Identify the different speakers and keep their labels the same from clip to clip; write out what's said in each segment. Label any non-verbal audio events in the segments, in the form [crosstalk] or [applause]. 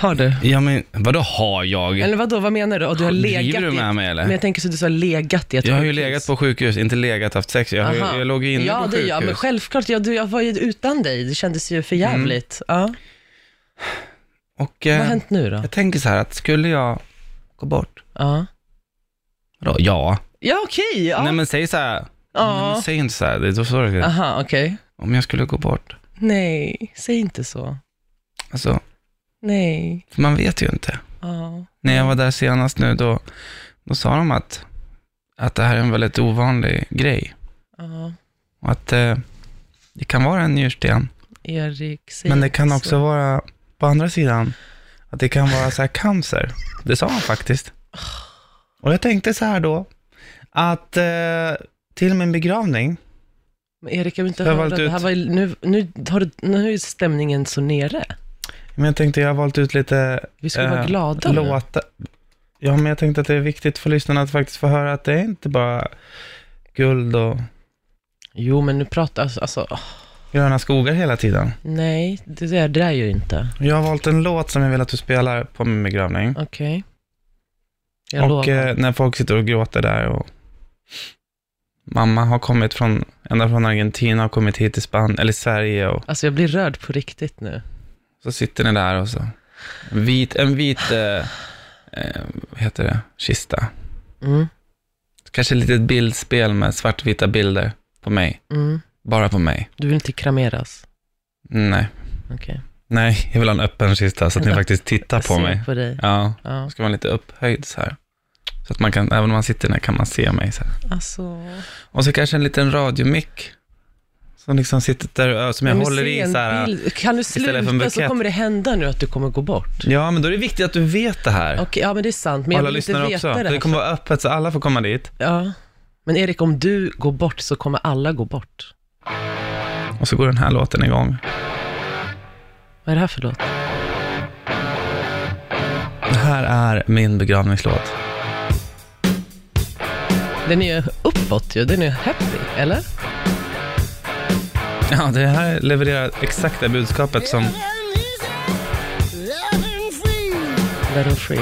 Speaker 1: har du?
Speaker 2: Ja, men vadå har jag?
Speaker 1: Eller vadå, vad menar du? Och du har
Speaker 2: Driver
Speaker 1: legat
Speaker 2: du
Speaker 1: i
Speaker 2: med
Speaker 1: ett-
Speaker 2: mig, eller?
Speaker 1: Men jag tänker så att du sa legat i ett
Speaker 2: Jag har ju
Speaker 1: sjukhus.
Speaker 2: legat på sjukhus, inte legat haft sex. Jag, har ju-
Speaker 1: Aha.
Speaker 2: jag låg ju inne
Speaker 1: ja,
Speaker 2: på
Speaker 1: det,
Speaker 2: sjukhus. Mm.
Speaker 1: Ja, men självklart. Ja, du, jag var ju utan dig. Det kändes ju för jävligt. Ja.
Speaker 2: Och
Speaker 1: Vad har
Speaker 2: eh,
Speaker 1: hänt nu då?
Speaker 2: jag tänker så här att skulle jag gå bort?
Speaker 1: Ja,
Speaker 2: Vadå, ja.
Speaker 1: ja okej. ja.
Speaker 2: Nej men säg så här. Nej,
Speaker 1: ja.
Speaker 2: men säg inte så här, det är då så det
Speaker 1: Aha, okej.
Speaker 2: Om jag skulle gå bort,
Speaker 1: Nej, säg inte så.
Speaker 2: alltså,
Speaker 1: Nej.
Speaker 2: för man vet ju inte.
Speaker 1: Ja.
Speaker 2: När jag var där senast nu, då, då sa de att, att det här är en väldigt ovanlig grej.
Speaker 1: ja.
Speaker 2: Och att eh, det kan vara en njursten,
Speaker 1: Erik, säg
Speaker 2: men det kan
Speaker 1: inte
Speaker 2: också
Speaker 1: så.
Speaker 2: vara, på andra sidan, att det kan vara så här cancer. Det sa han faktiskt. Och jag tänkte så här då, att eh, till min begravning,
Speaker 1: Men Erik, jag vill inte
Speaker 2: Jag har
Speaker 1: höra.
Speaker 2: valt
Speaker 1: Det här
Speaker 2: ut-
Speaker 1: var, ju- nu, nu, har du, nu är stämningen så nere.
Speaker 2: men jag tänkte jag har valt ut lite
Speaker 1: Vi skulle vara
Speaker 2: Eh,
Speaker 1: glada nu.
Speaker 2: låta... Ja, men jag tänkte att det är viktigt för lyssnarna att faktiskt få höra att det är inte bara guld och
Speaker 1: Jo, men nu pratar... Alltså, åh,
Speaker 2: gröna skogar hela tiden.
Speaker 1: nej, det där, det där är ju inte.
Speaker 2: Jag har valt en låt som jag vill att du spelar på min begravning.
Speaker 1: Okej. Jag
Speaker 2: och
Speaker 1: lovar.
Speaker 2: eh, när folk sitter och gråter där och mamma har kommit från, ända från Argentina och kommit hit till Spanien, eller Sverige och
Speaker 1: Alltså jag blir rörd på riktigt nu.
Speaker 2: så sitter ni där och så. En vit, en vit, eh, eh, vad heter det, kista.
Speaker 1: Mm,
Speaker 2: Kanske ett litet bildspel med svartvita bilder på mig,
Speaker 1: mm.
Speaker 2: bara på mig.
Speaker 1: Du vill inte krameras?
Speaker 2: Nej.
Speaker 1: Okej.
Speaker 2: Nej, jag vill ha en öppen kista så att ni faktiskt tittar
Speaker 1: Jag
Speaker 2: på
Speaker 1: ser
Speaker 2: mig.
Speaker 1: på dig.
Speaker 2: Ja,
Speaker 1: Ja.
Speaker 2: jag ska vara lite upphöjd så här. Så att man kan, även om man sitter ner kan man se mig så här.
Speaker 1: Alltså...
Speaker 2: Och så kanske en liten radiomick. Som liksom sitter där, som jag
Speaker 1: Men
Speaker 2: håller
Speaker 1: se
Speaker 2: i
Speaker 1: en
Speaker 2: så här.
Speaker 1: bild. Kan du
Speaker 2: för en
Speaker 1: sluta så
Speaker 2: bukett.
Speaker 1: kommer det hända nu att du kommer gå bort. Okej,
Speaker 2: Ja, men då är det viktigt att du vet det här.
Speaker 1: ja men det är sant. Men jag
Speaker 2: alla
Speaker 1: vill inte
Speaker 2: lyssnare
Speaker 1: veta
Speaker 2: också.
Speaker 1: det.
Speaker 2: Det,
Speaker 1: här.
Speaker 2: kommer vara öppet så alla får komma dit.
Speaker 1: ja. Men Erik, om du går bort så kommer alla gå bort.
Speaker 2: Och så går den här låten igång.
Speaker 1: Vad är det här för låt?
Speaker 2: Det här är min begravningslåt.
Speaker 1: Den är ju uppåt ju. Den är happy, eller?
Speaker 2: Ja, det här levererar exakt det budskapet som... [laughs]
Speaker 1: Let them free.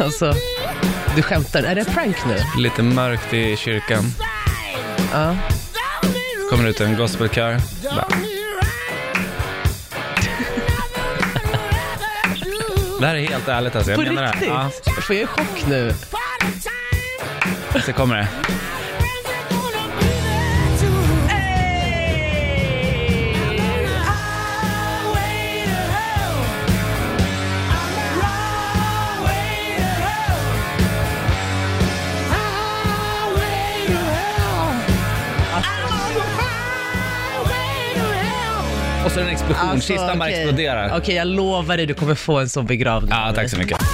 Speaker 1: Alltså,
Speaker 2: Mm.
Speaker 1: du skämtar. Är det prank nu?
Speaker 2: Lite mörkt i kyrkan.
Speaker 1: Ja.
Speaker 2: Kommer [laughs] ut en gospelkör. Det här är helt ärligt alltså, jag
Speaker 1: På
Speaker 2: menar det.
Speaker 1: riktigt?
Speaker 2: här. Ja,
Speaker 1: Jag får ju chock nu.
Speaker 2: så kommer det. Och så är det en explosion, kistan bara
Speaker 1: okej.
Speaker 2: exploderar.
Speaker 1: Alltså, Okej, jag lovar dig, du kommer få en sån begravning.
Speaker 2: Ja, tack så mycket.